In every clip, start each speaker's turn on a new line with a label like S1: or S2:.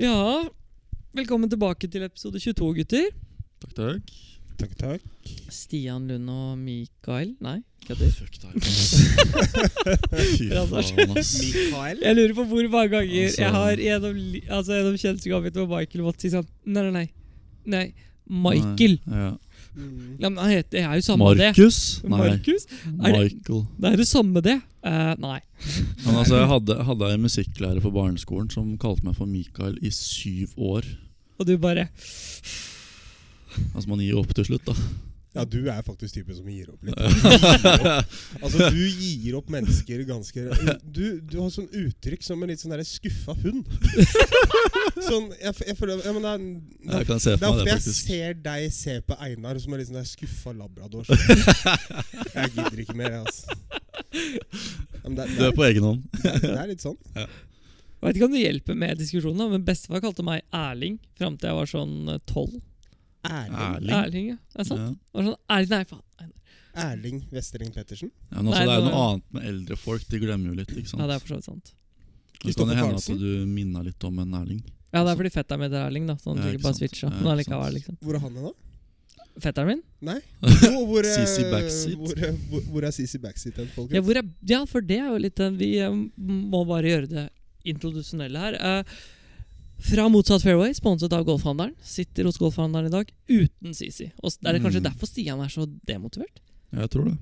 S1: Ja, velkommen tilbake til episode 22, gutter.
S2: Takk, takk.
S3: Takk, takk.
S1: Stian Lund og Mikael Nei, kødder.
S2: Fuck deg. Fy faen, ass.
S3: Mikael?
S1: Jeg lurer på hvor mange ganger
S2: Altså-
S1: jeg har gjennom, li- altså, gjennom kjennskapet mitt med Michael måttet si sånn Nei, nei, nei. nei Michael.
S2: Nei, Ja.
S1: Ja, men han heter, det er jo samme det.
S2: Markus? Nei.
S1: Markus? Er det,
S2: Michael.
S1: det er det samme, det. Eh, nei.
S2: Men altså, jeg hadde, hadde en musikklærer på barneskolen som kalte meg for Mikael i syv år.
S1: Og du bare
S2: Altså, man gir jo opp til slutt, da.
S3: Ja, du er faktisk typen som gir opp litt. Gir opp. Altså, du gir opp mennesker ganske Du, du har sånn uttrykk som en litt sånn derre skuffa hund. Sånn, jeg, f- jeg føler ja, men det, er, det,
S2: Jeg
S3: er,
S2: kan se
S3: det er
S2: for meg
S3: ofte
S2: det,
S3: jeg
S2: faktisk.
S3: ser deg se på Einar som er litt sånn der skuffa labrador. Jeg gidder ikke mer, jeg, altså. Ja, men det,
S2: Du
S3: det,
S2: er på egen hånd.
S3: er, det er litt sånn.
S1: Jeg vet ikke om det hjelper med diskusjonen, da, men bestefar kalte meg Erling fram til jeg var sånn tolv.
S3: Erling,
S2: Erling.
S1: Erling, ja. Det er sant.
S2: Ja.
S1: Var sånn, Erling, nei, faen. Nei,
S3: Erling Westering Pettersen.
S2: Ja, men altså,
S1: Nei,
S2: det er jo
S1: nå-
S2: noe annet med eldre folk. De glemmer jo litt. ikke sant?
S1: Ja, det er for så vidt sant.
S2: det kan
S3: Kristoffer
S2: jo hende at
S3: Karlsen.
S2: du minna litt om en Erling.
S1: Ja, det er fordi fetteren min er Erling, da. Så han
S2: Ja,
S1: ja,
S2: ikke
S1: bare
S2: sant.
S1: switcha.
S2: Ja,
S1: Men
S2: ikke
S1: allikevel,
S2: sant.
S1: liksom.
S3: Hvor er han hen, da?
S1: Fetteren min?
S3: Jo, hvor, eh,
S2: Sissy Backseat.
S3: Hvor, eh, hvor, hvor er Sissy Backseat hen, folkens?
S1: Ja, hvor er, ja, for det er jo litt den Vi eh, må bare gjøre det introdusjonelle her. Eh, fra motsatt fairway, sponset av Golfhandelen. Sitter hos Golfhandelen i dag uten CC. Og s- er det kanskje
S2: Mm.
S1: derfor Stian er så demotivert?
S2: Ja, jeg tror det.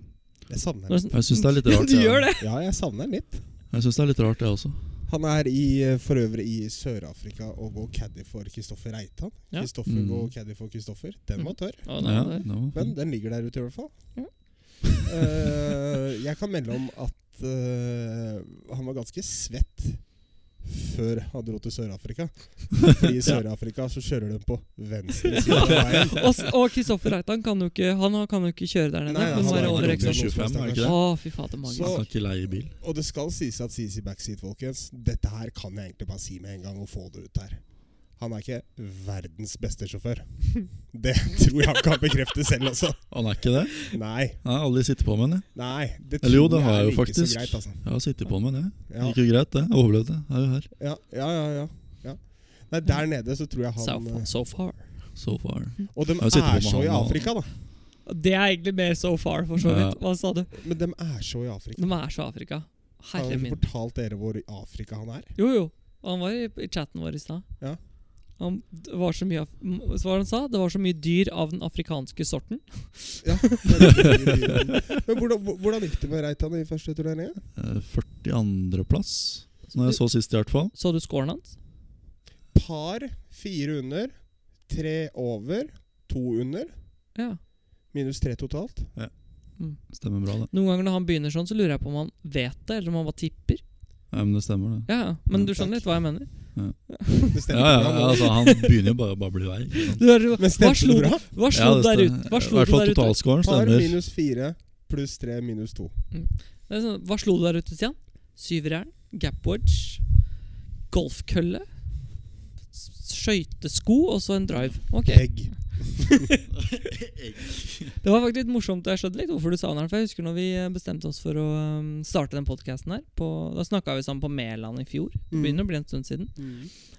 S3: Jeg savner
S1: Når det er
S3: den.
S1: sånn-
S2: Jeg syns det er litt rart.
S1: du gjør det!
S3: Ja, jeg savner den litt.
S2: Jeg synes det er litt rart, jeg også.
S3: Han er i, eh, for øvrig i Sør-Afrika og går caddy for Kristoffer Reitan.
S1: Ja.
S3: Kristoffer
S2: Mm.
S3: går caddy for Kristoffer. Den var tørr,
S1: Å, nei,
S2: Ja,
S1: det-
S2: det var
S3: men den ligger der ute i hvert fall.
S1: Ja.
S3: Eh, jeg kan melde om at eh, han var ganske svett før han dro til Sør-Afrika. Fordi i Sør-Afrika så kjører de på venstre side av veien.
S1: Og s- Og Kristoffer Reitan kan jo ikke Han kan jo ikke kjøre der nede.
S3: Nei,
S1: han
S3: han
S1: må
S3: er
S1: være over
S3: ikke
S1: ekstra.
S3: Robin.
S2: det?
S1: Å, fy fader,
S3: Så-
S1: magisk.
S2: Skal ikke leie bil.
S3: Og det skal sies at CC Backseat, folkens Dette her kan jeg egentlig bare si med en gang og få det ut her. Han er ikke verdens beste sjåfør. Det tror jeg han kan bekrefte selv, altså.
S2: Han er ikke det?
S3: Nei.
S2: Jeg har aldri sittet på med den. jeg.
S3: nei det
S2: Eller jo, det
S3: tror
S2: har
S3: jeg
S2: jeg jo
S3: er ikke så
S2: faktisk.
S3: greit, altså.
S2: Jeg har sittet på med den. jeg. Det
S3: Ja,
S2: gikk jo greit, det. Jeg overlevde. Jeg er jo her.
S3: ja, ja, ja, ja, ja. Nei, Der nede så tror jeg han eh,
S1: So far.
S2: eh,
S1: so far.
S2: So far.
S3: Og de
S2: Jeg sitter på
S3: er
S2: med
S3: så i
S2: han, og-
S3: Afrika, da.
S1: Det er egentlig mer so far, for så
S2: Ja.
S1: vidt. Hva sa du?
S3: Men de er så i Afrika.
S1: De er så Afrika.
S3: Har
S1: Herre
S3: han
S1: min.
S3: ikke fortalt dere hvor i Afrika han er?
S1: Jo, jo. Han var i, i chatten vår i stad.
S3: Ja.
S1: Han, det var så mye, af- m- så hva var det han sa? Det var så mye dyr av den afrikanske sorten.
S3: Ja. Men hvordan, hvordan gikk det med Reitan i første turnering?
S2: Eh, 42.-plass, som jeg så sist, i hvert fall.
S1: Så du scoren hans?
S3: Par, fire under, tre over, to under.
S1: Ja.
S3: Minus tre totalt.
S2: Stemmer bra, det.
S1: Noen ganger når han begynner sånn, så lurer jeg på om han vet det, eller om han bare tipper.
S2: Ja, men det stemmer, det.
S1: Ja, ja. Men du
S3: Takk.
S1: skjønner litt hva jeg mener?
S3: Det
S2: Ja,
S3: stemmer
S2: ja,
S3: bra.
S2: ja,
S3: mål.
S2: altså, han begynner jo bare å bable vei. ikke sant?
S1: Du hører jo-
S3: Men
S1: hva
S3: stemte
S1: slo
S3: det
S1: du
S3: bra?
S1: hva
S2: Ja,
S1: slo
S2: det
S1: du der
S2: stemmer.
S1: ute? Hva
S2: I
S1: slo
S2: hvert
S1: du
S2: fall
S1: der ute?
S2: totalscoren
S3: Par
S2: stemmer.
S3: minus fire pluss tre minus to.
S1: Det er sånn, Hva slo du der ute, Stian? Syverjern, gapwedge, golfkølle, s- skøytesko og så en drive. Ok.
S3: Pegg.
S1: Det var faktisk litt morsomt. og Jeg skjønte litt hvorfor du sa den. her For jeg husker når vi eh, bestemte oss for å eh, starte den podkasten her. På, da snakka vi sammen på Mæland i fjor. Det begynner å bli en stund siden.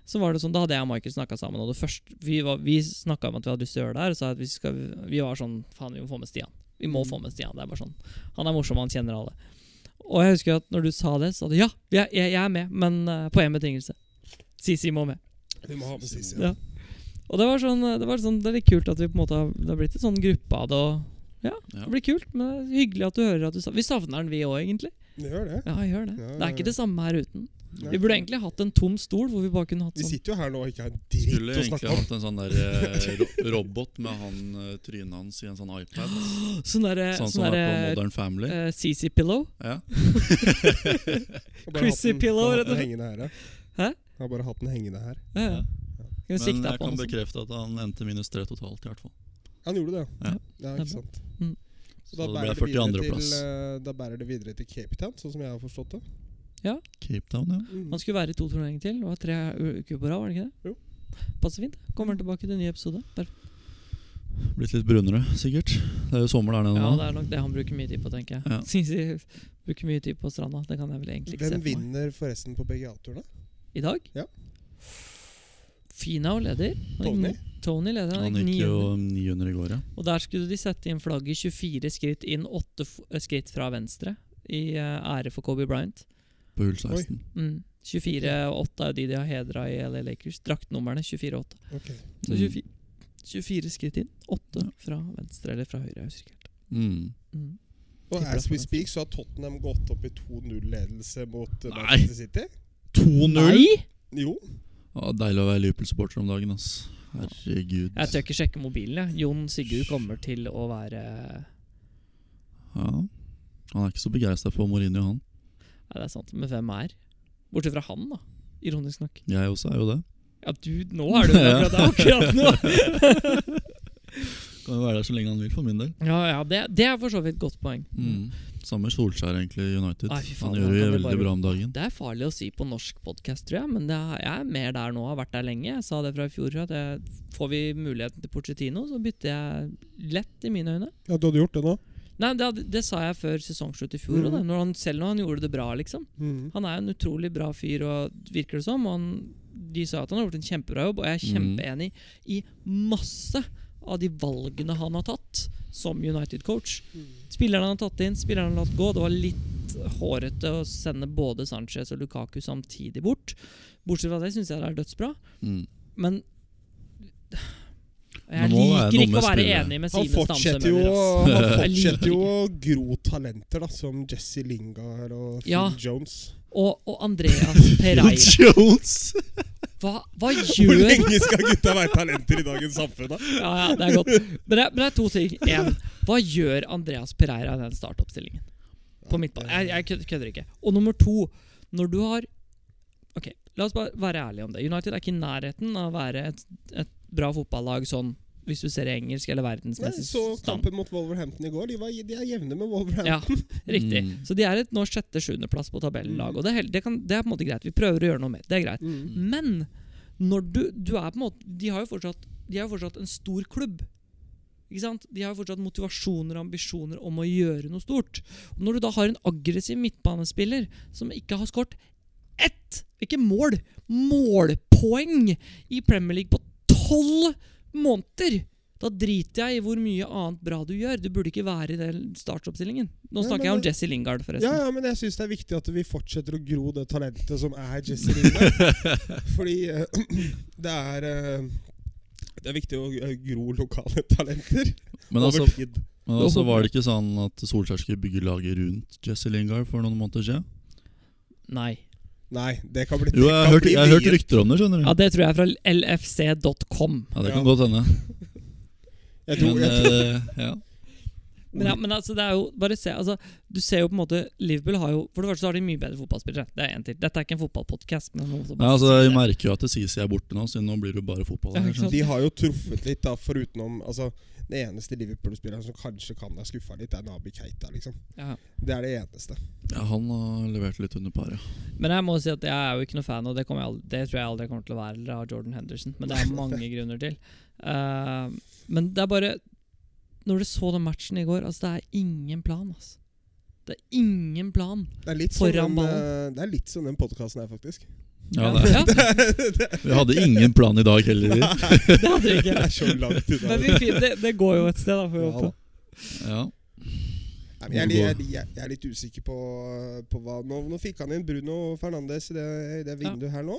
S1: Så var det sånn, Da hadde jeg og Michael snakka sammen. Og det første, vi var- vi snakka om at vi hadde lyst til å gjøre det her. Og sa at vi, skal, vi var sånn Faen, vi må få med Stian. Vi må
S3: Mm.
S1: få med Stian. Det er bare sånn. Han er morsom, han kjenner alle. Og jeg husker at når du sa det, så sa du ja, jeg, jeg, jeg er med, men eh, på én betingelse. Sisi må med.
S3: Vi må ha med Sissy.
S1: Ja. Og det var sånn, det var sånn, det er litt kult at vi på en måte har, det har blitt en sånn gruppe av det. Og ja,
S2: Ja.
S1: Det blir kult, men det er hyggelig at du hører at du savner Vi savner den, vi òg, egentlig.
S3: Det gjør det.
S1: Ja, gjør Det
S3: Ja, ja,
S1: Det er
S3: ja.
S1: ikke det samme her uten.
S3: Nei.
S1: Vi burde egentlig hatt en tom stol hvor vi bare kunne hatt
S3: Vi
S1: sånn.
S3: sitter jo her nå og ikke har en
S2: Skulle
S3: dritt å
S2: egentlig
S3: snakke om.
S2: hatt en sånn der eh, ro- robot med han eh, trynet hans i en sånn iPad.
S1: Sånn derre
S2: Sånn som
S1: sånn
S2: er på
S1: der,
S2: Modern Family.
S1: eh, CC Pillow.
S2: Ja.
S3: Jeg har bare hatt
S1: Chrissy
S3: den-
S1: Pillow,
S3: jeg har
S1: rett
S3: hatt
S1: og
S3: den hengende her, ja.
S1: Hæ?
S3: Jeg har bare hatt den hengende her.
S1: Ja, ja.
S2: Ja.
S1: Kan vi
S2: Men
S1: sikte
S2: jeg
S1: på
S2: kan
S1: den og sånn.
S2: bekrefte at han endte minus tre totalt, i hvert fall.
S3: Han gjorde det,
S2: Ja.
S3: ja.
S1: Det er
S3: Ikke sant.
S1: Mm.
S3: Så
S2: Så
S3: da
S2: det
S3: bærer
S2: ble
S3: det videre
S2: 42.
S3: til,
S2: plass.
S3: eh, da bærer det videre til Cape Town, sånn som jeg har forstått det.
S2: Cape Town, ja.
S3: Mm.
S1: Han skulle være i to turneringer til. Det var tre u- uker på rad, var det ikke det?
S3: Jo.
S1: Passer fint. Kommer tilbake til en ny episode. Perfekt.
S2: Blitt litt brunere, sikkert. Det er jo sommer der nede
S1: Ja,
S2: nå.
S1: det er nok det han bruker mye tid på, tenker jeg.
S2: Ja.
S1: Sisi bruker mye tid på stranda.
S3: Mm.
S1: Det kan jeg vel egentlig ikke
S3: Hvem
S1: se for meg.
S3: vinner forresten på PGA-turene?
S1: I dag?
S3: Ja.
S1: Fina og leder. Han gikk-
S3: Tony?
S1: Tony leder. Han
S2: Han
S1: gikk
S2: gikk jo
S1: 900.
S2: 900 i går, ja.
S1: Og der skulle de sette inn flagget 24 skritt inn, 8 f eh, skritt fra venstre, i eh, ære for Kobe Bryant.
S2: På hull 16.
S1: Mm. 24 og 8 er jo de de har hedra i LA Lakers. Draktnumrene 24 og 8.
S3: Ok.
S1: Så
S2: Mm.
S1: 24, 24 skritt inn, 8 fra venstre eller fra høyre. Jeg husker ikke helt.
S2: Mm.
S1: Mm.
S3: Og
S1: Tipper det
S3: as
S1: er
S3: we
S1: for
S3: speak så har Tottenham gått opp i 2-0-ledelse mot eh,
S2: Nei.
S3: Manchester City.
S2: 2-0!
S1: Nei!
S3: Jo.
S2: Ja, deilig å være Liverpool-supporter om dagen, ass. Herregud.
S1: Jeg tør ikke sjekke mobilen. jeg. Jon Sigurd kommer til å være Nei,
S2: Ja. Han er ikke så begeistra for Mourinho, han.
S1: det er sant, men hvem er? Bortsett fra han, da. Ironisk nok.
S2: Jeg også er jo det.
S1: Ja, du, nå er du akkurat, akkurat nå!
S2: Kan jo være der så lenge han vil, for min del.
S1: Ja, ja, det, det er for så vidt et godt poeng.
S2: Mm. Samme Solskjær, egentlig, i United.
S1: Nei, fy faen,
S2: han gjør
S1: han
S2: det
S1: kan jo
S2: veldig
S1: bare-
S2: bra om dagen.
S1: Det er farlig å si på norsk podkast, tror jeg, men det er, jeg er mer der nå. Har vært der lenge. Jeg sa det fra i fjor. At jeg, får vi muligheten til Porcetino, så bytter jeg lett i mine øyne.
S3: Ja, du hadde gjort det nå?
S1: Nei, det, hadde- det sa jeg før sesongslutt i fjor. og
S3: Mhm.
S1: det, når han, selv når han gjorde det bra, liksom.
S3: Mm.
S1: Han er en utrolig bra fyr, og virker det som. Og han, de sa at han har gjort en kjempebra jobb, og jeg er
S2: Mhm.
S1: kjempeenig i masse av de valgene han har tatt som United-coach.
S3: Mm.
S1: Spillerne han har tatt inn, spillerne han har latt gå. Det var litt hårete å sende både Sanchez og Lukaku samtidig bort. Bortsett fra det syns jeg det er dødsbra.
S2: Mm.
S1: Men
S2: Men
S1: jeg
S2: nå er
S1: liker
S2: det noe
S1: ikke
S2: med
S1: å være
S2: spillet.
S1: enig med
S3: Han
S1: sine
S3: fortsetter jo,
S1: stamsemødre. ass.
S3: han
S1: Jeg liker
S3: fortsetter jo å gro talenter, da, som Jesse Lingard og Phil
S1: Ja.
S3: Jones.
S1: Og, og Andreas Pereira
S2: Jones!
S1: Hva, hva
S3: Hvor
S1: gjør
S3: lenge skal gutta være talenter i dagens samfunn, da?
S1: ja, ja, det er godt. Men det, er- men det er to ting. En, hva gjør Andreas Pereira i den startoppstillingen? På midtbanen. Jeg, jeg kødder- kødder ikke. Og nummer to, når du har Ok, La oss bare være ærlige om det. United er ikke i nærheten av å være et, et bra fotballag sånn hvis du ser i engelsk eller
S3: Nei,
S1: verdensmessig
S3: så
S1: stand.
S3: kampen mot Wolverhampton i går. De, var, de er jevne med Wolverhampton.
S1: Ja, riktig.
S2: Mm.
S1: Så de er et nå sjette-sjuendeplass på tabellen i dag. Og det er, hel- det, kan, det er på en måte greit. Vi prøver å gjøre noe med det. Det er greit.
S3: Mm.
S1: Men når du, du er på en måte De har jo fortsatt, de har jo fortsatt en stor klubb. Ikke sant? De har jo fortsatt motivasjoner og ambisjoner om å gjøre noe stort. Og når du da har en aggressiv midtbanespiller som ikke har skåret ett ikke mål, målpoeng i Premier League på tolv måneder da driter jeg i hvor mye annet bra du gjør. Du burde ikke være i den startoppstillingen. Nå
S3: Nei,
S1: snakker
S3: men
S1: jeg om
S3: det-
S1: Jesse Lingard,
S3: Ja,
S1: forresten.
S3: ja, men jeg syns det er viktig at vi fortsetter å gro det talentet som er Jesse Lingard. Fordi eh, det er eh, Det er viktig å eh, gro lokale talenter
S2: Men altså,
S3: over tid.
S2: men altså, var det ikke sånn at Solskjær skulle bygge laget rundt Jesse Lingard for noen måneder siden?
S1: Nei.
S3: Nei, det kan bli
S2: Jo, jeg har hørt, jeg har hørt rykter om det, skjønner du.
S1: Ja, det tror jeg er fra lfc.com.
S2: Ja, det kan
S3: Ja.
S2: godt hende.
S3: Jeg tror,
S2: Men
S3: jeg tror,
S2: eh, ja.
S1: Men, ja, men altså, det er jo bare se, altså, Du ser jo på en måte Liverpool har jo For det første så har de mye bedre fotballspillere. Det er en til. Dette er ikke en fotballpodkast. Men jeg må
S2: Nei,
S1: bare
S2: altså,
S1: si
S2: jeg
S1: det.
S2: merker jo at Sisi er borte nå, så nå blir det jo bare fotball.
S1: Ja,
S2: her,
S1: ikke sant?
S2: skjønner du.
S3: de har jo truffet litt, da, forutenom altså, Den eneste Liverpool-spilleren som kanskje kan ha skuffa litt, er Nabi Keita. liksom
S1: Ja.
S3: Det er det eneste.
S2: Ja, han har levert litt under par, ja.
S1: Men jeg må si at jeg er jo ikke noe fan, og det, kommer jeg aldri, det tror jeg aldri jeg kommer til å være eller av Jordan Henderson. Men det er mange grunner til. Eh, men det er bare Når du så den matchen i går Altså, det er ingen plan, altså. Det er ingen plan.
S3: Det er litt som
S1: Foran
S3: den,
S1: ballen.
S3: eh, det er litt som den podkasten her, faktisk.
S2: ja det.
S1: Ja, det
S2: er- Vi hadde ingen plan i dag heller. vi.
S1: hadde vi
S3: Det
S1: ikke.
S3: er så langt unna.
S1: Men vi, fin- det, det går jo et sted, da. Får vi
S3: Ja,
S1: håpe.
S3: da.
S2: Ja.
S3: Nei, men jeg, er litt- jeg, er- jeg er litt usikker på, på hva nå, nå fikk han inn Bruno Fernandes i det, i det
S1: Ja.
S3: vinduet her nå.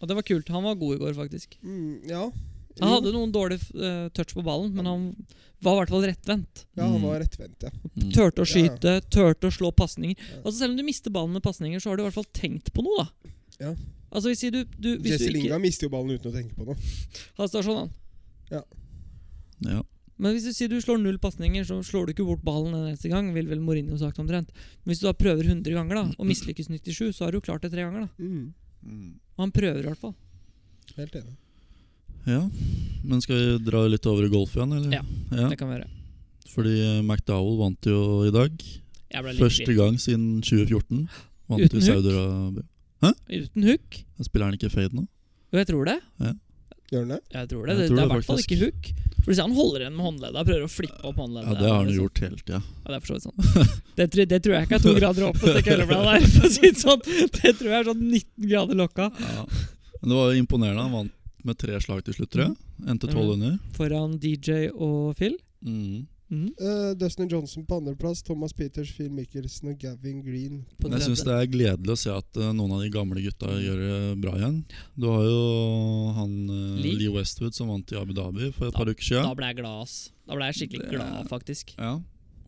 S1: Og det var kult. Han var god i går, faktisk.
S3: Mm, ja.
S1: Han
S3: Jo,
S1: hadde noen dårlige eh, touch på ballen, men han var i hvert fall rettvendt.
S3: ja, han var rettvendt, ja.
S2: Mm.
S1: Turte å
S3: Ja, ja.
S1: skyte, turte å slå pasninger.
S3: Ja.
S1: Altså Selv om du mister ballen med pasninger, så har du i hvert fall tenkt på noe, da.
S3: Ja.
S1: Altså hvis du, du, hvis du
S3: Jesse
S1: ikke
S3: Lingard mister jo ballen uten å tenke på noe.
S1: Han står sånn, han.
S2: Mm. Ja.
S1: Men hvis du sier du slår null pasninger, så slår du ikke bort ballen en eneste gang. Vil vel Mourinho sagt omtrent. Men hvis du da prøver 100 ganger da og mislykkes 97, så har du jo klart det tre ganger. da
S3: Mm,
S1: Og han prøver i hvert fall.
S3: helt enig.
S2: ja. Men skal vi dra litt over i golf igjen, eller?
S1: Ja. Det kan være.
S2: Fordi eh, McDowell vant jo i dag.
S1: Jeg ble litt
S2: Første gang siden 2014. Vant
S1: Uten
S2: i
S1: hook?
S2: Saudi-Arabia.
S1: vill. Uten hook.
S2: Spiller han ikke fade nå?
S1: Og jeg tror det.
S3: Gjør han det?
S1: Jeg tror det. Det,
S2: Jeg tror
S1: det er
S2: det,
S1: i hvert fall
S2: faktisk.
S1: ikke hook. For du ser han holder igjen med håndledda og prøver å flippe opp håndleddet.
S2: Ja, det har han
S1: Liksom.
S2: jo gjort hele tida.
S1: Ja, det er for så vidt sant. Det, tror- det tror jeg ikke er to grader oppe. Det, der, for å si det, sånn. det tror jeg er sånn 19 grader lokka.
S2: Ja. Men det var jo imponerende. Han vant opp med tre slag til slutt, tror jeg. Endte tolv under.
S1: Foran DJ og Phil.
S2: Mm.
S1: Mhm.
S3: Eh, Dustin Johnson på andreplass, Thomas Peters, Phil Michelsen og Gavin Green.
S1: På
S2: Men Jeg
S1: tredje.
S2: syns det er gledelig å se at eh, noen av de gamle gutta gjør det bra igjen. Du har jo han eh,
S1: Lee.
S2: Lee Westwood som vant i Abu Dhabi for et par uker
S1: Da
S2: siden.
S1: ble jeg glad, ass. Da ble jeg skikkelig
S2: Det-
S1: glad, faktisk.
S2: Ja.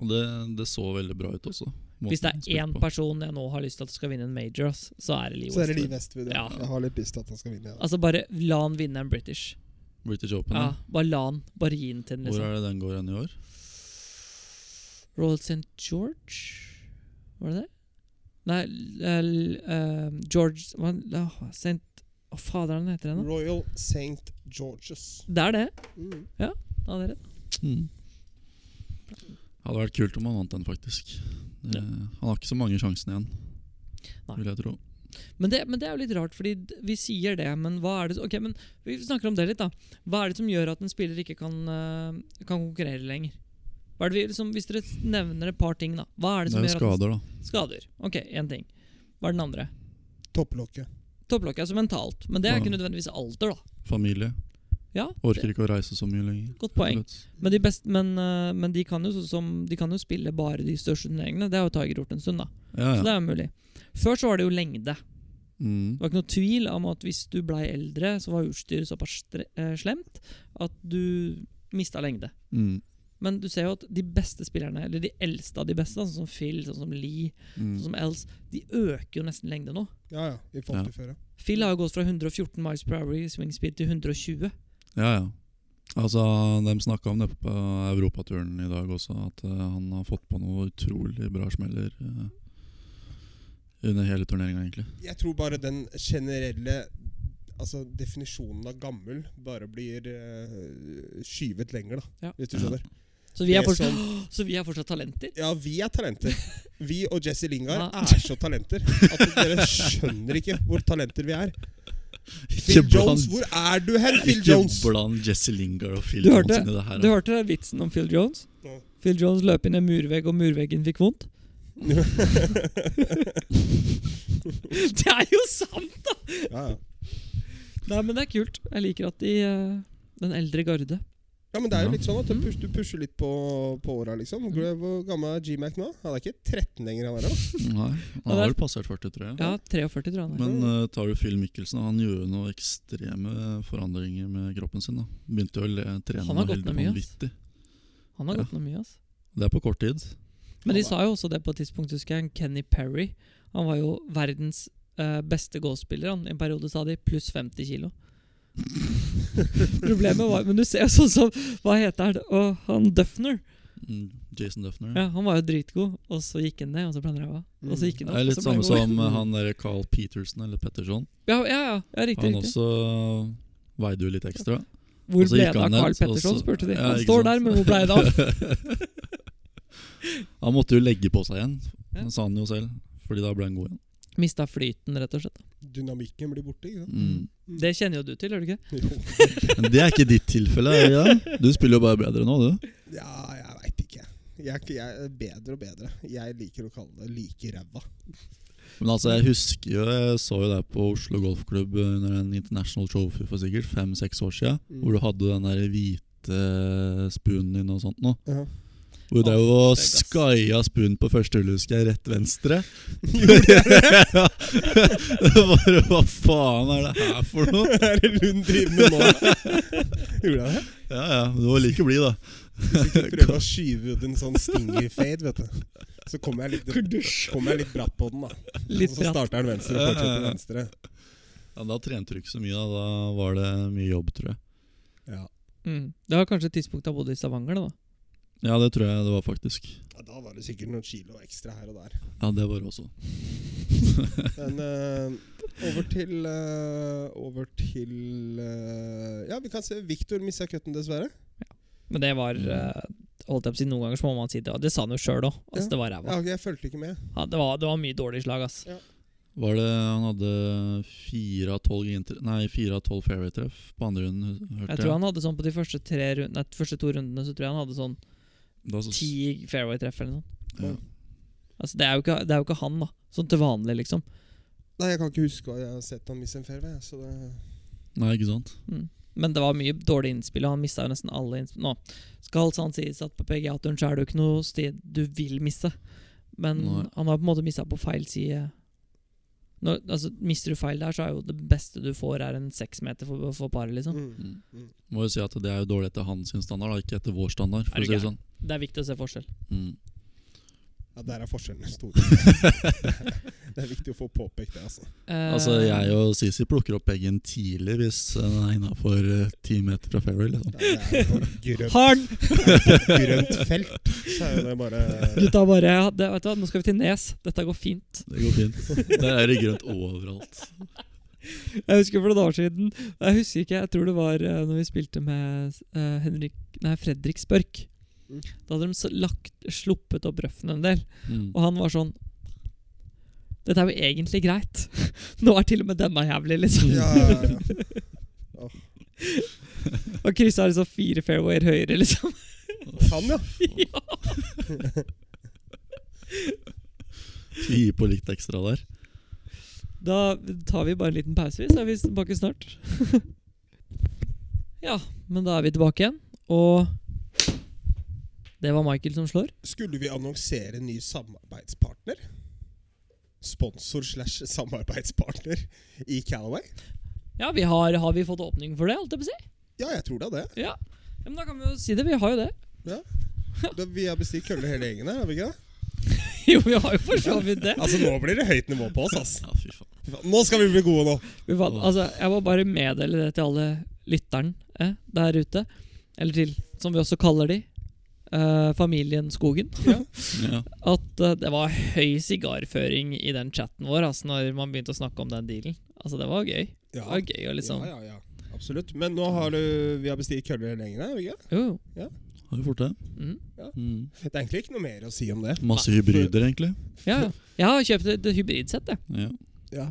S2: Og det, det så veldig bra ut også. måten
S1: Hvis det
S2: han
S1: er
S2: spilte
S1: én
S2: på.
S1: person jeg nå har lyst til at skal vinne en major, ass, så er det Lee
S3: Så er det Lee
S1: Westwood.
S3: Westwood. Ja.
S1: Ja.
S3: Jeg har litt lyst til at han skal vinne. Ja.
S1: Altså, bare la han vinne en British.
S2: British Open.
S1: Ja,
S2: Ja.
S1: bare la han. Bare gi den til den,
S2: Hvor
S1: liksom.
S2: er det den går hen i år?
S1: Royal St. George? Var det det? Nei, l- eh, George hva- åh, St. Å, fader, han heter det nå?
S3: Royal St. Georges.
S1: Det er det.
S3: Mm.
S1: Da hadde dere
S2: Mm. Hadde vært kult om han vant den, faktisk. Det,
S1: Ja.
S2: Han har ikke så mange sjansene igjen,
S1: Nei.
S2: vil jeg tro.
S1: Men det, men det er jo litt rart, fordi d- vi sier det, men hva er det Ok, men vi snakker om det litt, da. Hva er det som gjør at en spiller ikke kan, eh, kan konkurrere lenger? Hva er det vi, liksom, hvis dere nevner et par ting, da. Hva er det
S2: Det
S1: som
S2: er jo
S1: gjør at
S2: skader, da.
S1: en, Skader. Ok, én ting. Hva er den andre?
S3: Topplokket.
S1: Topplokket er så mentalt, men det er ikke
S2: Ja.
S1: nødvendigvis alder, da.
S2: Familie.
S1: Ja,
S2: Orker ikke å reise så mye lenger.
S1: Godt poeng.
S2: Rett.
S1: Men de, best, men, eh, men de kan jo sånn som De kan jo spille bare de største turneringene. Det har jo Tiger gjort en stund, da.
S2: Ja,
S1: Så
S2: ja.
S1: det er jo mulig. Før så var det jo lengde.
S2: Mm.
S1: Det var ikke noe tvil om at hvis du blei eldre, så var utstyret såpass stre- eh, slemt at du mista lengde.
S2: Mm.
S1: Men du ser jo at de beste spillerne, eller de eldste av de beste, da, sånn som Phil, sånn som Lee,
S2: Mm.
S1: sånn som Els, de øker jo nesten lengde nå.
S3: Ja, ja. I forhold til før, ja.
S1: Phil har jo gått fra 114 miles per hour i swing speed til 120.
S2: Ja, ja. Altså, De snakka om det på europaturen i dag også, at eh, han har fått på noen utrolig bra smeller eh, under hele turneringa, egentlig.
S3: Jeg tror bare den generelle Altså definisjonen av gammel bare blir eh, skyvet lenger, da.
S1: Ja.
S3: Hvis du
S2: Ja.
S3: skjønner.
S1: Så vi er
S3: Det er
S1: fortsatt, så vi er fortsatt talenter.
S3: Ja, vi er talenter. Vi og Jesse Lingard
S1: Ja.
S3: er så talenter at dere skjønner ikke hvor talenter vi er.
S2: Ikke
S3: Phil Jones, hvor er du hen, Phil
S2: ikke
S3: Jones?
S2: bland Jesse Lingard og Phil
S1: Du
S2: Jones
S1: hørte-
S2: inn i det her.
S1: Du hørte vitsen om Phil Jones?
S3: Ja.
S1: Phil Jones løp inn i en murvegg, og murveggen fikk vondt. Det er jo sant!
S3: Ja, ja.
S1: Nei, men det er kult. Jeg liker at de eh, Den eldre garde.
S3: ja, men det er
S2: Ja.
S3: jo litt sånn at du
S1: Mm.
S3: pusher, du pusher litt på, på åra, liksom. Hvor hvor gammel er G-Mac nå? Han er ikke 13 lenger, han der. da.
S2: Nei, Han har vel passert 40, tror jeg.
S1: Ja, 43, tror jeg han er.
S2: Men eh, tar du Phil Mickelsen, han gjør jo noen ekstreme forandringer med kroppen sin. da Begynte jo å le- trene
S1: Han har gått
S2: helt
S1: ned mye, ass.
S2: vanvittig.
S1: Han har gått noe mye, altså.
S2: Det er på kort tid.
S1: Men de sa jo også det på et tidspunkt, husker jeg. Kenny Perry. Han var jo verdens eh, beste golfspiller. Han. I en periode sa de pluss 50 kilo. Problemet var Men du ser jo sånn som Hva heter han? Og han Duffner.
S2: Mm, Jason Duffner.
S1: Ja, han var jo dritgod, og så gikk han ned, og så ble han ræva. Og så gikk han opp.
S2: Det er
S1: og
S2: litt
S1: så ble han
S2: samme
S1: god.
S2: som eh, han der Carl Peterson eller Petterson.
S1: Ja, ja, ja, ja riktig.
S2: Han
S1: riktig.
S2: også eh, veide jo litt ekstra.
S1: Hvor
S2: Og så
S1: ble
S2: gikk
S1: det av
S2: han ned,
S1: Carl
S2: og så-
S1: Petterson, spurte de.
S2: Ja,
S1: Han
S2: ikke
S1: står
S2: sant.
S1: der, men hvor ble det av?
S2: Han måtte jo legge på seg igjen,
S1: Ja.
S2: det sa han jo selv. Fordi da ble han god igjen.
S1: Mista flyten, rett og slett.
S3: Dynamikken blir borte, ikke sant? Mm.
S2: Mm.
S1: Det kjenner jo du til, gjør du ikke?
S3: Jo.
S2: Men det er ikke ditt tilfelle. er det det? Du spiller jo bare bedre nå, du.
S3: Ja, jeg veit ikke. Jeg, er ikke- jeg er bedre og bedre. Jeg liker å kalle det like ræva.
S2: Men altså, jeg husker jo, jeg så jo deg på Oslo Golfklubb under en international trophy for sikkert fem-seks år siden.
S3: Mm.
S2: Hvor du hadde den der hvite spoonen din og sånt noe.
S3: Ja.
S2: Hvor du drev
S1: Å,
S2: og
S1: fy, ass.
S2: skaia spoonen på første hullet, husker jeg, rett venstre. Ja. Det var Hva faen er det her for noe?
S3: Hva er det Lund driver med nå? Gjorde jeg det?
S2: Ja, ja. men Du var like blid, da.
S3: Prøvde å skyve ut en sånn stinger-fade, vet du. Så kom jeg litt, kom jeg litt bratt på den, da.
S1: Litt
S3: og så
S1: bratt.
S3: starter den venstre og fortsetter venstre.
S2: Ja, da trente du ikke så mye, da. Da var det mye jobb, tror jeg.
S3: Ja.
S1: Mm. Det var kanskje et tidspunkt da jeg bodde i Stavanger, da.
S2: Ja, det tror jeg det var, faktisk.
S3: ja, Da var det sikkert noen kilo ekstra her og der.
S2: Ja, det var det også.
S3: Men eh, over til eh, Over til eh, Ja, vi kan se. Victor mista cutten, dessverre.
S1: Men det var
S2: Mm.
S1: eh, holdt jeg på å si Noen ganger så må man si det. og Det sa han jo sjøl òg. Altså,
S3: Ja.
S1: det var ræva.
S3: Ja, ok, jeg fulgte ikke med.
S1: Ja, det, var- det var mye dårlige slag, altså. ass.
S2: Var det Han hadde fire av tolv inter- Nei, fire av tolv fairway-treff på andre runden, hørte
S1: Jeg tror han hadde sånn på de første, tre rund, nei, de første to rundene Så tror jeg han hadde sånn
S2: Da så-
S1: ti fairway-treff eller noe.
S2: Ja.
S1: Altså, det er, jo ikke, det er jo ikke han, da. Sånn til vanlig, liksom.
S3: Nei, jeg kan ikke huske hva jeg har sett han miste en fairway. Så det
S2: Nei, ikke sant?
S1: Mm. Men det var mye dårlig innspill, og han mista jo nesten alle innspill. Nå skal sant sies at på PGA-turen så er det jo ikke noe sted du vil misse. Men
S2: Nei.
S1: han har på en måte mista på feil side. Når, altså, mister du feil der, så er jo det beste du får, er en seksmeter for, for paret. liksom.
S3: Mm.
S2: Mm. Må jo si at det er jo dårlig etter hans sin standard, da, ikke etter vår standard.
S1: Er
S2: For å
S1: du
S2: si det
S1: gæren?
S2: sånn.
S1: Det er viktig å se forskjell.
S2: Mm.
S3: Ja, der er forskjellene store. det er viktig å få påpekt det, altså.
S1: Eh,
S2: Altså, jeg og Sisi plukker opp eggen tidlig hvis eh, den er innafor eh, ti meter fra fairway. Liksom.
S3: Det er jo grønt,
S1: Harn!
S3: grønt felt, så er jo det bare
S1: Gutta bare ja, det, vet du hva, Nå skal vi til Nes. Dette går fint.
S2: Det går fint. Der er det grønt overalt.
S1: Jeg husker for noen år siden Jeg husker ikke, jeg tror det var eh, når vi spilte med eh, Henrik, nei, Fredrik Spørk.
S3: Mm.
S1: Da hadde de s- lagt, sluppet opp røffen en del,
S2: Mm.
S1: og han var sånn Dette er jo egentlig greit. Nå er til og med denne jævlig, liksom.
S3: Ja, ja, ja.
S1: Og kryssa liksom fire fairwayer høyere, liksom.
S3: Han, ja.
S1: ja.
S2: Skal gi på litt ekstra der.
S1: Da tar vi bare en liten pause, vi, så er vi tilbake snart. ja, men da er vi tilbake igjen, og det var Michael som slår.
S3: Skulle vi annonsere ny samarbeidspartner? Sponsor slash samarbeidspartner i Calaway?
S1: Ja, vi har, har vi fått åpning for det? Alt jeg på å si?
S3: Ja, jeg tror da det.
S1: Ja. ja, men Da kan vi jo si det. Vi har jo det.
S3: Da, vi har bestilt køller hele gjengen her, har vi ikke det?
S1: jo, vi har jo for så vidt det.
S3: Altså, nå blir det høyt nivå på oss, ass.
S2: Ja, fy faen.
S3: Fy faen, Nå skal vi bli gode nå.
S1: Vi fant, altså, jeg må bare meddele det til alle lytterne eh, der ute. Eller til, som vi også kaller de, eh, familien Skogen.
S2: Ja.
S1: At eh, det var høy sigarføring i den chatten vår altså, når man begynte å snakke om den dealen. Altså, det var gøy. Det var gøy å liksom
S3: ja, sånn. ja, ja. Absolutt. Men nå har du, vi har bestilt køller hele gjengen her, har vi ikke det?
S1: Jo, jo.
S2: Har vi fort det?
S1: Mm.
S2: Mm.
S3: Det er egentlig ikke noe mer å si om det.
S2: Masse hybrider, egentlig.
S1: Ja, ja. Jeg har kjøpt et et hybridsett, jeg.
S2: Ja.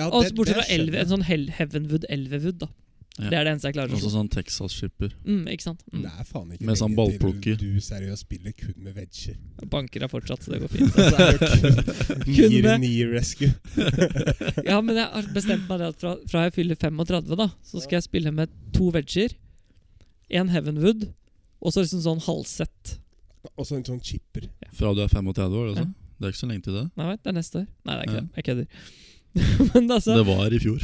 S3: Ja.
S1: Og
S3: det-
S1: bortsett
S3: det
S1: fra elve,
S3: skjønner jeg.
S1: en sånn Hel- Heavenwood Elvewood, da.
S2: Ja.
S1: Det er det eneste jeg klarer å
S2: Altså
S1: slå.
S2: sånn Texas-skipper.
S1: Mm, ikke sant? Mm.
S3: Det er faen ikke
S2: Med sånn
S3: lenge til
S2: ballplukker.
S3: Du seriøst spiller kun med vegger.
S1: Banker er fortsatt, så det går fint.
S3: Altså, det er jo kun
S1: Kun med-
S3: knee rescue.
S1: Ja, men jeg har bestemt meg det at fra, fra jeg fyller 35, da, så skal jeg spille med to vegger, en Heavenwood, og så liksom sånn halvsett.
S3: Og så en sånn chipper.
S2: Fra du er 35 år, altså.
S1: Ja.
S2: Det er ikke så lenge til det.
S1: Nei, vent, det er neste år. Nei, det er ikke
S2: Ja.
S1: det. Jeg kødder. men altså,
S2: Det var i fjor.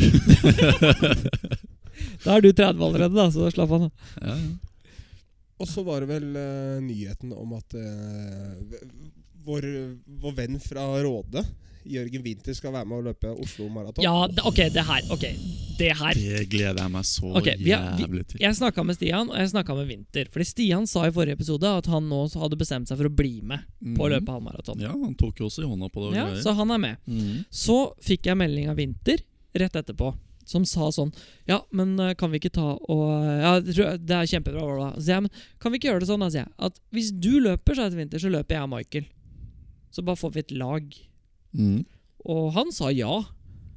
S1: da er du 30 allerede, da, så slapp av nå.
S2: Ja, ja.
S3: Og så var det vel eh, nyheten om at eh, v- vår, vår venn fra Råde, Jørgen Winther, skal være med å løpe Oslo Maraton.
S1: Ja, det, OK, det her. Ok, det her.
S2: Det gleder jeg meg så
S1: Ok, vi har- vi-
S2: jævlig til.
S1: Jeg snakka med Stian, og jeg snakka med Winter. Fordi Stian sa i forrige episode at han nå hadde bestemt seg for å bli med på å
S2: Mhm.
S1: løpe halvmaraton.
S2: Ja, han tok jo også i hånda på det. og
S1: Ja,
S2: greier.
S1: så han er med.
S2: Mhm.
S1: Så fikk jeg melding av Winter rett etterpå, som sa sånn Ja, men eh, kan vi ikke ta og eh, Ja, det tror jeg- det er kjempebra, bla, bla. Så sier jeg, men kan vi ikke gjøre det sånn, da, sier jeg. At hvis du løper, sa jeg til Winter, så løper jeg og Michael. Så bare får vi et lag. Mm.
S2: Mhm.
S1: Og han sa ja.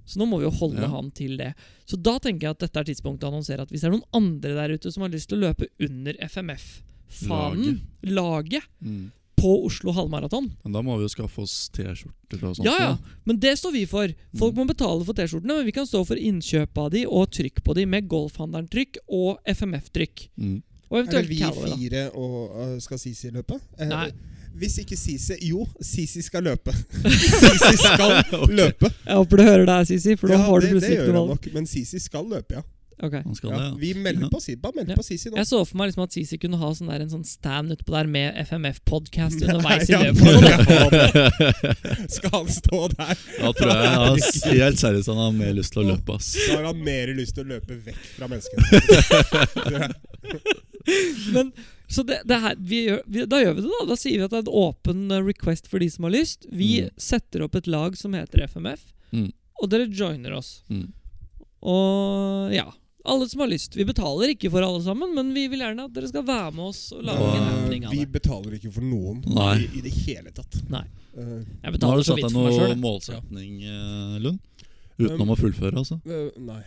S1: Så nå må vi jo holde
S2: Ja.
S1: han til det. Så da tenker jeg at dette er tidspunktet å annonsere at hvis det er noen andre der ute som har lyst til å løpe under FMF-fanen, laget,
S2: Mhm.
S1: på Oslo halvmaraton,
S2: Men da må vi jo skaffe oss T-skjorter og sånt.
S3: Sånn
S1: Ja, ja, men det står vi for. Folk må betale for T-skjortene, men vi kan stå for innkjøp av de og trykk på de med golfhandleren-trykk og FMF-trykk.
S2: Mhm.
S1: Og
S3: Er det
S1: eventuelt
S3: vi
S1: Calaway, da.
S3: fire og eh, skal Sisi løpe? Eh,
S1: Nei.
S3: Hvis ikke Sisi Jo, Sisi skal løpe. Sisi skal løpe.
S1: Jeg håper du hører det her, Sisi, for nå
S3: Ja,
S1: har du
S3: det, det
S1: plutselig
S3: gjør
S1: ikke
S3: han
S1: noe valg.
S3: nok. Men Sisi skal løpe, ja.
S1: Ok.
S2: Han skal
S3: ja.
S2: det,
S3: Vi melder på Sisi. Bare meld
S1: Ja.
S3: på Sisi nå.
S1: Jeg så for meg liksom at Sisi kunne ha sånn der, en sånn stand utpå der med FMF-podkast underveis i
S3: Ja,
S1: løpet.
S3: Skal han stå der?
S2: Da tror jeg han helt seriøst han har mer lyst til å løpe, ass.
S3: Da har han mer lyst til å løpe vekk fra menneskene.
S1: Men, så det, det her, vi gjør, vi, da gjør vi det, da. Da sier vi at det er en åpen eh, request for de som har lyst. Vi
S2: Mm.
S1: setter opp et lag som heter FMF,
S2: Mm.
S1: og dere joiner oss.
S2: Mhm.
S1: Og ja. Alle som har lyst. Vi betaler ikke for alle sammen, men vi vil gjerne at dere skal være med oss og lage en
S2: Ja,
S1: happening av
S3: vi
S1: det.
S3: betaler ikke for noen
S2: Nei.
S3: i, i det hele tatt.
S1: Nei.
S3: Eh,
S1: Jeg
S2: Nå har du
S1: betaler så
S2: satt
S1: vidt
S2: deg
S1: for meg
S2: noe
S1: sjøl.
S2: målsetning, eh, Lund. Utenom å fullføre, altså.
S3: eh, nei.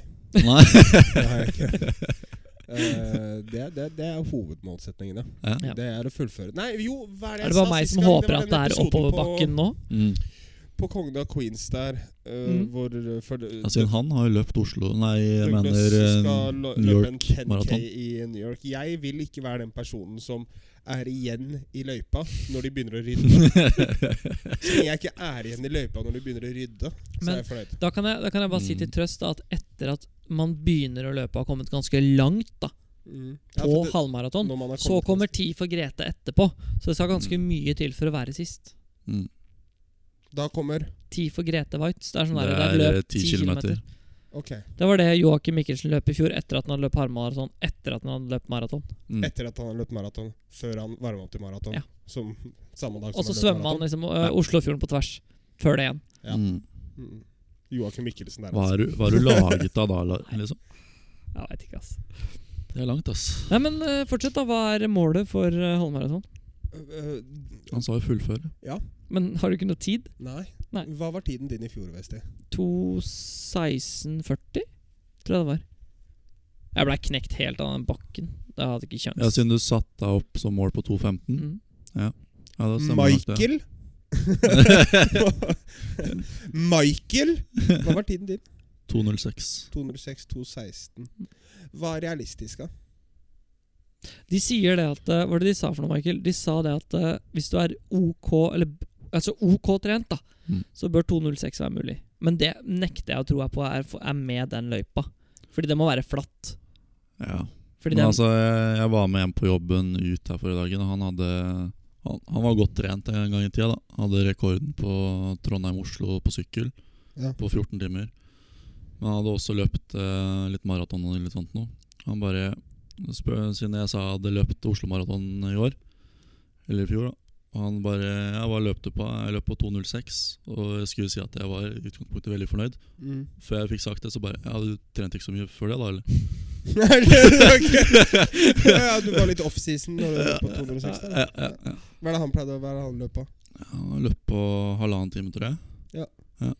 S2: Nei.
S3: Det har jeg ikke. Eh, det, det, det er hovedmålsetningen, ja.
S2: Ja.
S1: Ja.
S3: Det er å fullføre Nei, jo, hva er det jeg
S1: Er det bare
S3: sa
S1: meg
S3: sist
S1: som
S3: gang?
S1: håper
S3: var
S1: at det
S3: denne
S1: er
S3: episoden
S1: oppoverbakken nå?
S2: Mm.
S3: På, på Kongen av Queens der, eh,
S1: Mm.
S3: hvor eh, for, eh,
S2: Altså, han har jo løpt Oslo Nei, jeg
S3: Douglas
S2: mener eh,
S3: skal lo-
S2: New
S3: løpe en
S2: York
S3: 10K
S2: Marathon.
S3: i New York. Jeg vil ikke være den personen som er igjen i løypa når de begynner å rydde. Så lenge jeg ikke er igjen i løypa når de begynner å rydde, så
S1: Men-
S3: er jeg fornøyd.
S1: Da kan jeg, da kan jeg bare si
S2: Mm.
S1: til trøst da, at etter at man begynner å løpe og har kommet ganske langt da,
S3: Ja,
S1: på
S3: for det-
S1: halvmaraton,
S3: når man har
S1: så
S3: kommet-
S1: kommer ti for Grete etterpå. Så det skal ganske
S2: Mm.
S1: mye til for å være sist.
S2: Mm.
S3: Da kommer
S1: Ti for Grete Waitz. Det er sånn
S2: Det
S1: der,
S2: er
S1: det er
S2: eh,
S1: løp
S2: 10
S1: ti
S2: kilometer.
S1: kilometer.
S3: Ok.
S2: Mm.
S1: Det var det Joakim Mikkelsen løp i fjor, etter at han hadde løpt halvmaraton, etter at han hadde løpt maraton.
S2: Mm.
S3: Etter at han har løpt maraton. Før han varmer opp til maraton.
S1: Ja.
S3: Som samme dag som
S1: Og så
S3: han løp
S1: svømmer han
S3: maraton.
S1: liksom ø, Oslofjorden på tvers. Før det igjen.
S3: Ja.
S2: Mm.
S3: Mm. Joakim Mikkelsen der.
S2: Hva
S3: altså.
S2: er du, hva er du laget av da, la- liksom?
S1: Jeg vet ikke, ass.
S2: Det er langt, ass.
S1: Nei, men ø, fortsett, da. Hva er målet for ø, halvmaraton?
S3: Øh,
S2: Han sa jo fullføre.
S1: Men har du ikke noe tid?
S3: nei.
S1: Nei.
S3: Hva var tiden din i fjor, Vesti?
S1: 2.16,40, tror jeg det var. Jeg blei knekt helt av den bakken. Da hadde jeg ikke
S2: Ja,
S1: kjangs.
S2: siden du satte deg opp som mål på 2.15.
S1: Mm.
S2: Ja, da stemmer nok det.
S3: Michael? Michael! Hva var tiden din?
S2: 2.06.
S3: 206, 216. Hva er realistisk, da?
S1: De sier det at eh, Hva var det de sa for noe, Michael? De sa det at eh, hvis du er OK Eller b- altså OK trent, da,
S2: Mm.
S1: så bør 2.06 være mulig. Men det nekter jeg å tro er, på, er, er med den løypa. Fordi det må være flatt.
S2: Ja.
S1: Fordi
S2: Men
S1: den-
S2: altså, jeg, jeg var med hjem på jobben ut her for i dagen, og han hadde han, han var godt trent en gang i tida. da Han Hadde rekorden på Trondheim-Oslo på sykkel
S3: Ja.
S2: på 14 timer. Men han hadde også løpt eh, litt maraton og litt sånt noe. Han bare spør, Siden jeg sa jeg hadde løpt Oslo-maraton i år, eller i fjor, da. Og han bare Jeg bare løpte på Jeg løp på 2.06, og jeg skulle si at jeg var i utgangspunktet veldig fornøyd.
S3: Mm.
S2: Før jeg fikk sagt det, så bare Ja, du trente ikke så mye før det, da, eller?
S3: Er det- ok. ja, ja, du var litt offseason når du løp på 206. da.
S2: Ja, ja, ja.
S3: Hva er det han pleide å være han løp på?
S2: Han løp på halvannen time, tror jeg.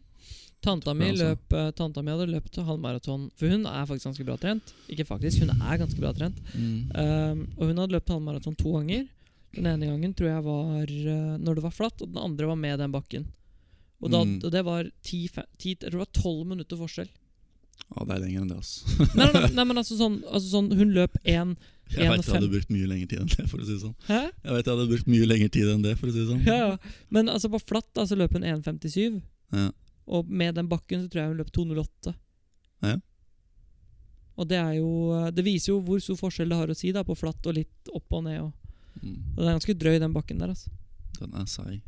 S1: Tanta mi,
S2: altså.
S1: løp, eh, tanta mi hadde løpt halvmaraton. For hun er faktisk ganske bra trent. Ikke faktisk, hun er ganske bra trent.
S2: Mm.
S1: Um, og hun hadde løpt halvmaraton to ganger. Den ene gangen tror jeg var eh, når det var flatt, og den andre var med den bakken. Og, da,
S2: Mm.
S1: og det var ti, fe- ti, jeg tror det var tolv minutter forskjell.
S2: Ja, det er lenger enn det, ass.
S1: Nei, nei, nei, nei men altså sånn, altså sånn Hun løp én En
S2: Jeg vet
S1: og
S2: jeg hadde
S1: fem.
S2: brukt mye lengre tid enn det, for å si det sånn.
S1: Hæ?
S2: Jeg vet jeg hadde brukt mye lengre tid enn det, for å si det sånn.
S1: Ja, ja. Men altså på flatt da, så løp hun 1,57.
S2: Ja.
S1: Og med den bakken så tror jeg hun løp 2,08.
S2: Ja.
S1: Og det er jo Det viser jo hvor stor forskjell det har å si da på flatt og litt opp og ned. Og,
S2: Mm,
S1: og Det er ganske drøy, den bakken der. altså
S2: Den er seig.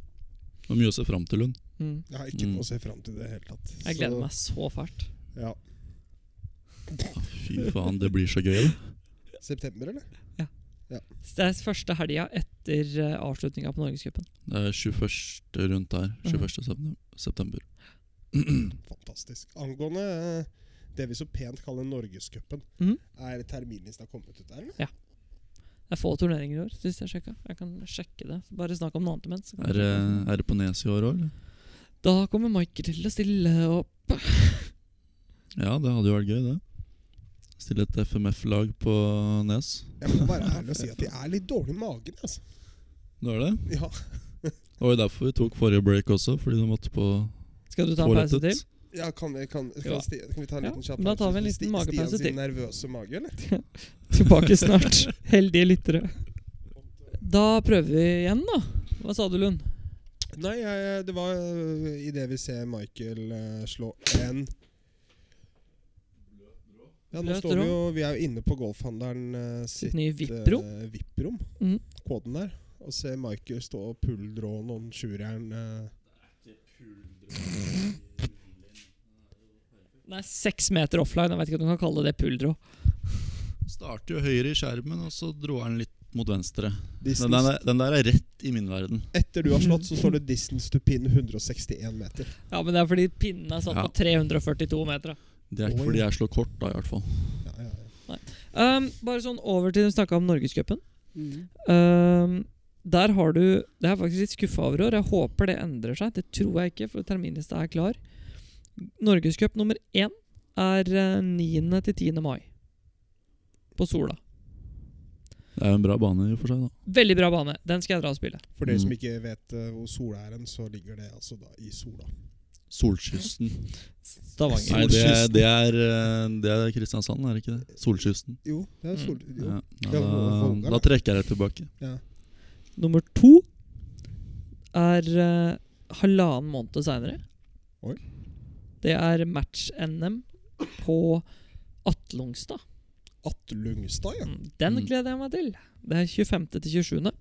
S2: Det var mye å se fram til, hun.
S1: mm.
S3: Jeg har ikke
S2: Mm.
S3: noe å se fram til i det hele tatt.
S1: Jeg gleder meg så fælt.
S3: Så, ja.
S2: Fy faen, det blir så gøy, da.
S3: September, eller?
S1: Så Det er første helga etter eh, avslutninga på Norgescupen.
S2: Det er 21. rundt der.
S1: Mhm.
S2: 21. septem- september.
S3: Fantastisk. Angående eh, det vi så pent kaller Norgescupen,
S1: Mhm.
S3: er terminlista kommet ut der, eller?
S1: Det er få turneringer i år, sist jeg sjekka. Jeg kan sjekke det. Bare snakk om noe annet imens. så kan
S2: Er,
S1: jeg sjekke det.
S2: det- er eh, det på Nes i år òg, eller?
S1: Da kommer Michael til å stille opp.
S2: Ja, det hadde jo vært gøy, det. Stille et FMF-lag på Nes.
S3: Jeg må være ærlig og si at de er litt dårlig i magen, altså.
S2: Det var det.
S3: Ja.
S2: Det var jo derfor vi tok forrige break også, fordi de måtte på
S1: Skal du ta en pause til?
S2: toalettet.
S3: Ja, kan vi, kan, kan,
S1: Ja.
S3: Sti, kan vi ta en
S1: Ja,
S3: liten kjapp
S1: men da tar vi en
S3: til
S1: liten
S3: Sti-
S1: magepause
S3: Stian
S1: til.
S3: sin nervøse mage, eller?
S1: Tilbake snart. Heldige lyttere. Da prøver vi igjen, da. Hva sa du, Lund?
S3: Nei, jeg, det var idet vi ser Michael eh, slå en ja, nå
S1: Bløt
S3: står vi,
S1: rå.
S3: jo, vi er jo inne på golfhandelen eh, sitt
S1: Sitt nye VIP-rom.
S3: eh, VIP-rom.
S1: Mhm.
S3: Koden der. Og se Michael stå og pull-drå noen sjurjern. eh.
S1: Nei, seks meter offline. Jeg vet ikke om du kan kalle det puldro.
S2: Starter jo høyre i skjermen, og så dro han litt mot venstre. Den
S3: Distance-
S2: der, den der er rett i min verden.
S3: Etter du har slått, så står det 'distance to pin 161 meter'.
S1: Ja, men det er fordi pinnen er satt
S2: Ja.
S1: på 342 meter. da.
S2: Det er ikke
S3: Oi.
S2: fordi jeg slår kort, da, i hvert fall.
S3: Ja, ja, ja.
S1: Um, bare sånn over til du snakka om Norgescupen.
S3: Mm.
S1: Um, der har du Det er jeg faktisk litt skuffa over i år. Jeg håper det endrer seg. Det tror jeg ikke, for terminlista er klar. Norgescup nummer én er eh, 9. til 10. mai på Sola.
S2: Det er jo en bra bane i og for seg, da.
S1: Veldig bra bane. Den skal jeg dra og spille.
S3: For dere som
S2: Mm.
S3: ikke vet eh, hvor sola er hen, så ligger det altså da i sola.
S2: Solkysten.
S1: Stavanger.
S2: Nei, det er, det, er, eh, det er Kristiansand, er det ikke det? Solkysten.
S3: Jo, det er
S1: Mm.
S3: sol... Jo.
S2: Ja. Ja,
S3: Ja,
S2: da,
S3: Volga, da.
S2: da trekker jeg det tilbake.
S1: Nummer to er eh, halvannen måned seinere.
S3: Oi.
S1: Det er match-NM på Atlungstad.
S3: Atlungstad, ja.
S1: Mm, Den
S2: Mm.
S1: gleder jeg meg til. Det er 25. til 27.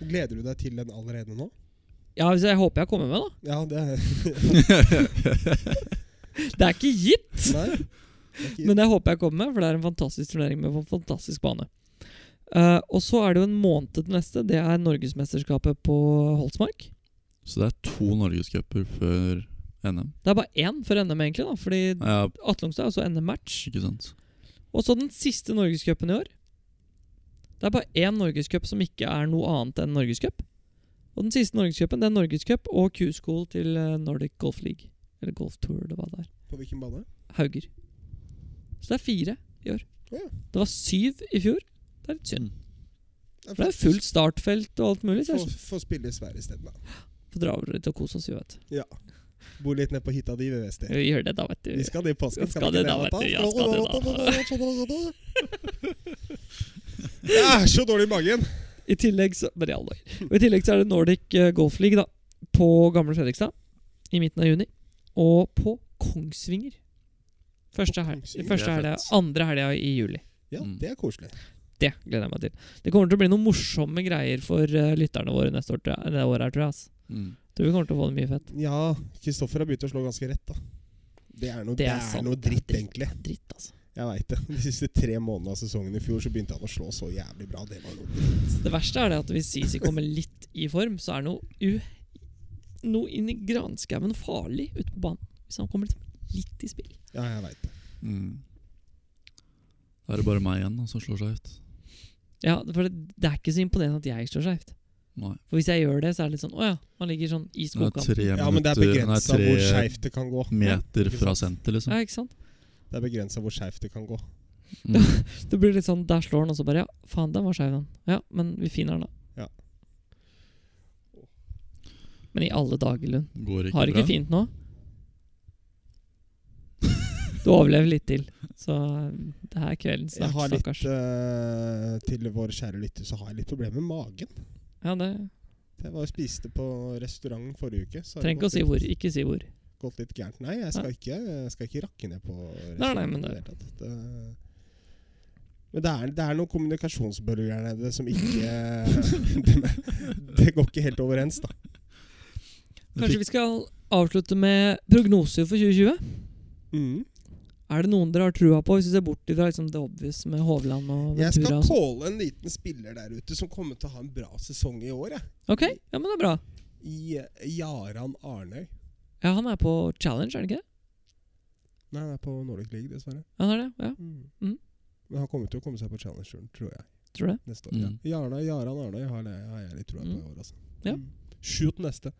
S3: Gleder du deg til den allerede nå?
S1: Ja, så Jeg håper jeg kommer med, da.
S3: Ja, det er
S1: Det er ikke gitt,
S3: Nei. det er ikke-
S1: men jeg håper jeg kommer med, for det er en fantastisk turnering med en fantastisk bane. Eh, og så er det jo en måned til neste. Det er Norgesmesterskapet på Holsmark.
S2: Så det er to norgescuper før NM.
S1: Det er bare én for NM, egentlig, da, fordi
S2: Ja,
S1: Atlungstad er altså NM-match.
S2: ikke sant.
S1: Og så den siste Norgescupen i år. Det er bare én Norgescup som ikke er noe annet enn Norgescup. Og den siste Norgescupen det er Norgescup og Q-School til eh, Nordic Golf League. Eller Golf Tour, eller hva det er.
S3: På hvilken bane?
S1: Hauger. Så det er fire i år.
S3: Ja.
S1: Det var syv i fjor. Det er litt synd.
S2: Mm.
S1: For det er fullt startfelt og alt mulig. Så jeg
S3: Få- Få spille i Sverige isteden, da.
S1: får dra over litt og kose oss, vi vet.
S3: Bo litt ned på hytta di ved Vesti.
S1: Vi gjør det da, vet
S3: Vi
S1: du.
S3: skal det i påsken.
S1: Skal det da, vet du, ja, skal det
S3: da. Jeg er så dårlig i magen!
S1: I tillegg så Bare i alle dager. Og i tillegg så er det Nordic eh, Golf League da på Gamle Fredrikstad i midten av juni. Og på Kongsvinger. Første,
S3: På
S1: hel
S3: Kongsvinger,
S1: første
S2: det er
S1: helga.
S2: fett.
S1: Andre helga i juli.
S3: Ja,
S2: Mm.
S3: det er koselig.
S1: Det gleder jeg meg til. Det kommer til å bli noen morsomme greier for eh, lytterne våre neste år, tror jeg- det året her, tror jeg. ass.
S2: Mm.
S1: Tror vi kommer til å få det mye fett.
S3: Ja, Kristoffer har begynt å slå ganske rett, da. Det er noe,
S1: Det
S3: det
S1: er
S3: er
S1: sant,
S3: noe
S1: det er
S3: dritt,
S1: dritt.
S3: egentlig.
S1: Det er dritt, altså.
S3: Jeg veit det. De siste tre månedene av sesongen i fjor så begynte han å slå så jævlig bra. Det var noe dritt.
S1: Det verste er det at hvis Sisi kommer litt i form, så er noe u... Noe inn i granskauen farlig ute på banen. Hvis han kommer liksom litt i spill.
S3: Ja, jeg veit det.
S2: Mm. Da er det bare meg igjen da, som slår seg ut.
S1: Ja, for det, det er ikke så imponerende at jeg står skjevt.
S2: Nei.
S1: For hvis jeg gjør det, så er det litt sånn Å ja, man ligger sånn i
S2: Det er
S1: skogkanten.
S2: tre,
S3: Ja, men det er
S2: minutter- eh, nei,
S3: begrensa hvor
S2: tre
S3: skeivt det kan gå.
S2: meter
S3: Ikke
S2: fra
S3: sant?
S2: senter, liksom.
S1: Ja, ikke sant?
S3: Det er begrensa hvor skeivt det kan gå.
S2: Mm.
S1: Det blir litt sånn Der slår den, og så bare Ja, faen, den var skeiv, den. Ja, men vi finner den, da.
S3: Ja.
S1: Men i alle dager, Lund.
S2: Går ikke
S1: Har det ikke
S2: bra.
S1: fint nå? Du overlever litt til. Så det her er kvelden
S3: Jeg
S1: snart,
S3: har litt,
S1: stakkars.
S3: eh, til vår kjære lytter, så har jeg litt problemer med magen.
S1: Ja, det
S3: Jeg var og spiste på restaurant forrige uke. Så har det
S1: Trenger ikke å
S3: gått
S1: si
S3: litt-
S1: hvor. Ikke si hvor.
S3: gått litt gærent. Nei, jeg skal, ikke, jeg skal ikke rakke ned på
S1: Nei, nei, men det-
S3: restauranten i hele tatt. det men det er, det er noen kommunikasjonsbølger der nede som ikke det, det går ikke helt overens, da.
S1: Kanskje vi skal avslutte med prognoser for 2020?
S3: Mm.
S1: Er det noen dere har trua på, hvis du ser bort fra liksom, det obvious med Hovland og
S3: Jeg
S1: Ventura?
S3: skal
S1: og sånn?
S3: calle en liten spiller der ute som kommer til å ha en bra sesong i år. Jeg.
S1: Ok, ja, men det er bra.
S3: I eh, Jaran Arnøy.
S1: Ja, Han er på challenge, er han ikke det?
S3: Nei, han er på Nordic League, dessverre.
S1: Han er det, ja, Mm.
S3: Men han kommer til å komme seg på Challengeturen, tror jeg.
S1: tror det.
S3: Neste år.
S2: Mm.
S3: Ja. Jarna, Jaran Arnøy har, det- har jeg litt troa på i
S1: Mm.
S3: år, altså.
S1: Ja.
S3: Mm. Shoot neste.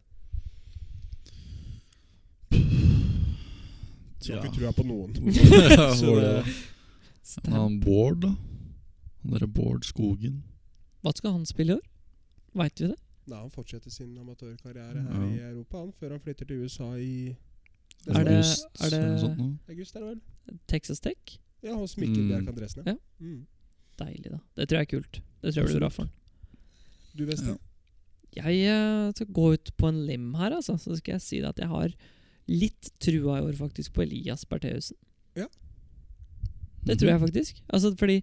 S3: Du
S2: Tja.
S3: har ikke trua på noen. Så
S2: Hvor
S3: det-
S2: det- Han Bård, da. Han derre Bård Skogen.
S1: Hva skal han spille i år? Veit vi det?
S3: Nei, han fortsetter sin amatørkarriere her
S2: Ja.
S3: i Europa han, før han flytter til USA i
S1: Er det-
S2: August,
S1: er det-
S2: eller noe eh, sånt noe.
S3: august. er det vel?
S1: Texas Tech?
S3: Ja, hos Mikkel
S2: Mm.
S3: Bjerk Andresen.
S1: Ja.
S3: Mm.
S1: Deilig, da. Det tror jeg er kult. Det tror jeg blir bra for han.
S3: Du, Vesti?
S2: Ja.
S1: Jeg eh, skal gå ut på en lim her, altså. Så skal jeg si det at jeg har litt trua i år, faktisk, på Elias Bertheussen. Det tror jeg
S2: Mm. Mhm.
S1: faktisk. Altså, fordi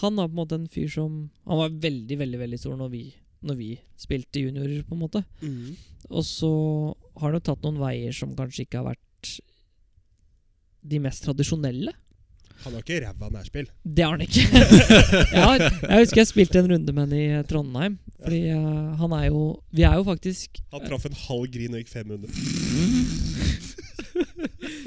S1: han var på en måte en fyr som Han var veldig, veldig veldig stor når vi, når vi spilte juniorer, på en måte.
S3: Mm.
S1: Og så har han jo tatt noen veier som kanskje ikke har vært de mest tradisjonelle.
S3: Han har ikke ræva nærspill.
S1: Det har han ikke. jeg, har, jeg husker jeg spilte en runde med han i eh, Trondheim. Fordi eh, han er jo Vi er jo faktisk
S3: Han traff en halv grin og gikk 500.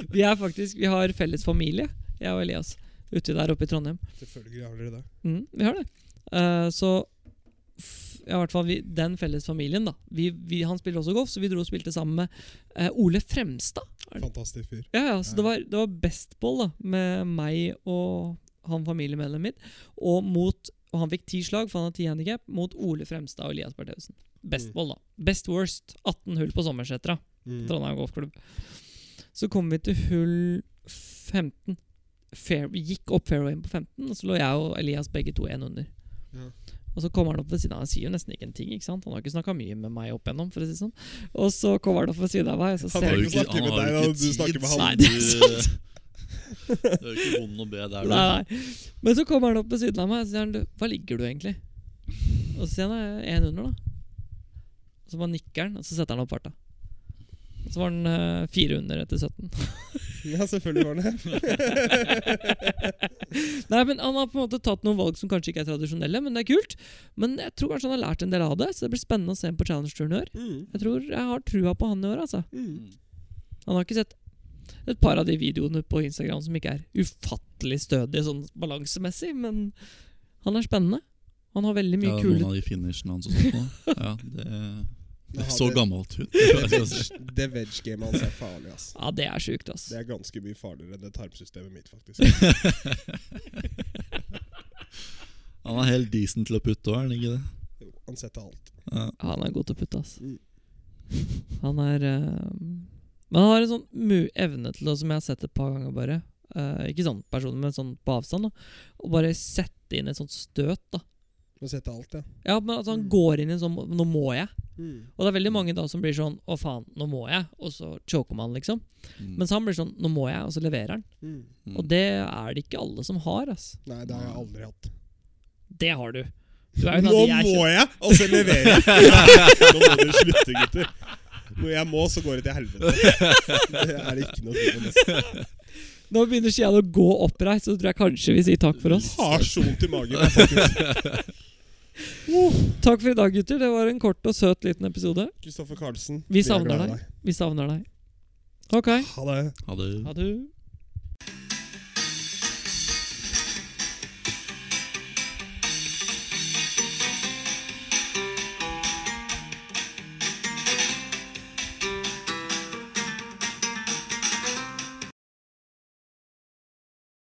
S1: Vi er faktisk Vi har felles familie, jeg og Elias, ute der oppe i Trondheim.
S3: Selvfølgelig har dere det.
S1: Mm, vi har det. Eh, så f ja, i hvert fall vi, den felles familien, da. Vi, vi, han spiller også golf, så vi dro og spilte sammen med eh, Ole Fremstad.
S3: Fantastisk fyr.
S1: Ja, ja, så det var, det var bestball da, med meg og han familiemedlemmet mitt, og mot Og han fikk ti slag, for han har ti handikap, mot Ole Fremstad og Elias Bertheussen. Best
S3: Mm.
S1: ball, da. Best worst. 18 hull på Sommersetra. Trondheim Golfklubb. Så kom vi til hull 15. Fair, vi gikk opp fairwayen på 15, og så lå jeg og Elias begge to én under.
S3: Ja.
S1: Og så kommer han opp ved siden av Han sier jo nesten ikke en ting. ikke sant? Han har ikke snakka mye med meg opp igjennom. for å si det sånn. Og så kommer han opp ved siden av meg, og så
S3: Han
S1: ser
S3: har
S1: jeg
S3: jo ikke snakke med deg, da. Du snakker med han.
S1: Nei, det er sant.
S2: Du er jo ikke vond å be der, du.
S1: Nei, nei. Men så kommer han opp ved siden av meg og så sier han, «Du, hva ligger du egentlig? Og så sier han «Jeg er én under, da. Og så bare nikker han, og så setter han opp farta. Og så var han eh, fire under etter 17.
S3: Ja, selvfølgelig var det
S1: Nei, men Han har på en måte tatt noen valg som kanskje ikke er tradisjonelle, men det er kult. Men jeg tror kanskje han har lært en del av det, så det blir spennende å se ham på Challenge-turen i år.
S3: Mm.
S1: Jeg tror jeg har trua på han i år, altså.
S3: Mm.
S1: Han har ikke sett et par av de videoene på Instagram som ikke er ufattelig stødige sånn balansemessig, men han er spennende. Han har veldig mye
S2: Ja,
S1: kule
S2: Noen av de finishene hans og sånt. Da. Ja, det,
S3: Men
S2: det
S3: han-
S2: så gammelt ut. Det
S3: Det veg-gamet hans er farlig, ass.
S1: Ja, det er sjukt, ass.
S3: Det er ganske mye farligere enn det tarmsystemet mitt, faktisk.
S2: Han er helt decent til å putte òg, er han ikke det?
S3: Jo, Han setter alt.
S2: Ja.
S1: Han er god til å putte, ass.
S3: Mm.
S1: Han er eh, Men han har en sånn mu evne til det, som jeg har sett et par ganger, bare. Eh, ikke sånn person, men sånn på avstand. da Å bare sette inn et sånt støt, da.
S3: Han setter alt, ja.
S1: Ja, men altså Han
S3: Mm.
S1: går inn i en sånn 'nå må jeg'.
S3: Mm.
S1: Og det er veldig mange da som blir sånn 'å faen, nå må jeg', og så choker man, liksom.
S2: Mm.
S1: Mens han blir sånn 'nå må jeg', og så leverer han.
S3: Mm.
S2: Mm.
S1: Og det er det ikke alle som har, ass.
S3: Nei, det har jeg aldri hatt.
S1: Det har du. Du er jo en av
S3: Nå
S1: de jeg
S3: må
S1: kjenner.
S3: jeg, og så leverer jeg! Nå må dere slutte, gutter. Når jeg må, så går det til helvete. Det er det ikke noe tvil om. ass.
S1: Nå begynner Sian å gå oppreist, så tror jeg kanskje vi sier takk for oss.
S3: Har så vondt i magen. jeg, faktisk.
S1: Takk for i dag, gutter. Det var en kort og søt liten episode.
S3: Kristoffer Karlsen.
S1: Vi
S3: er
S1: savner
S3: glad i
S1: deg. Vi savner deg. OK.
S3: Ha det.
S2: Ha Mm. det.
S1: Ha det.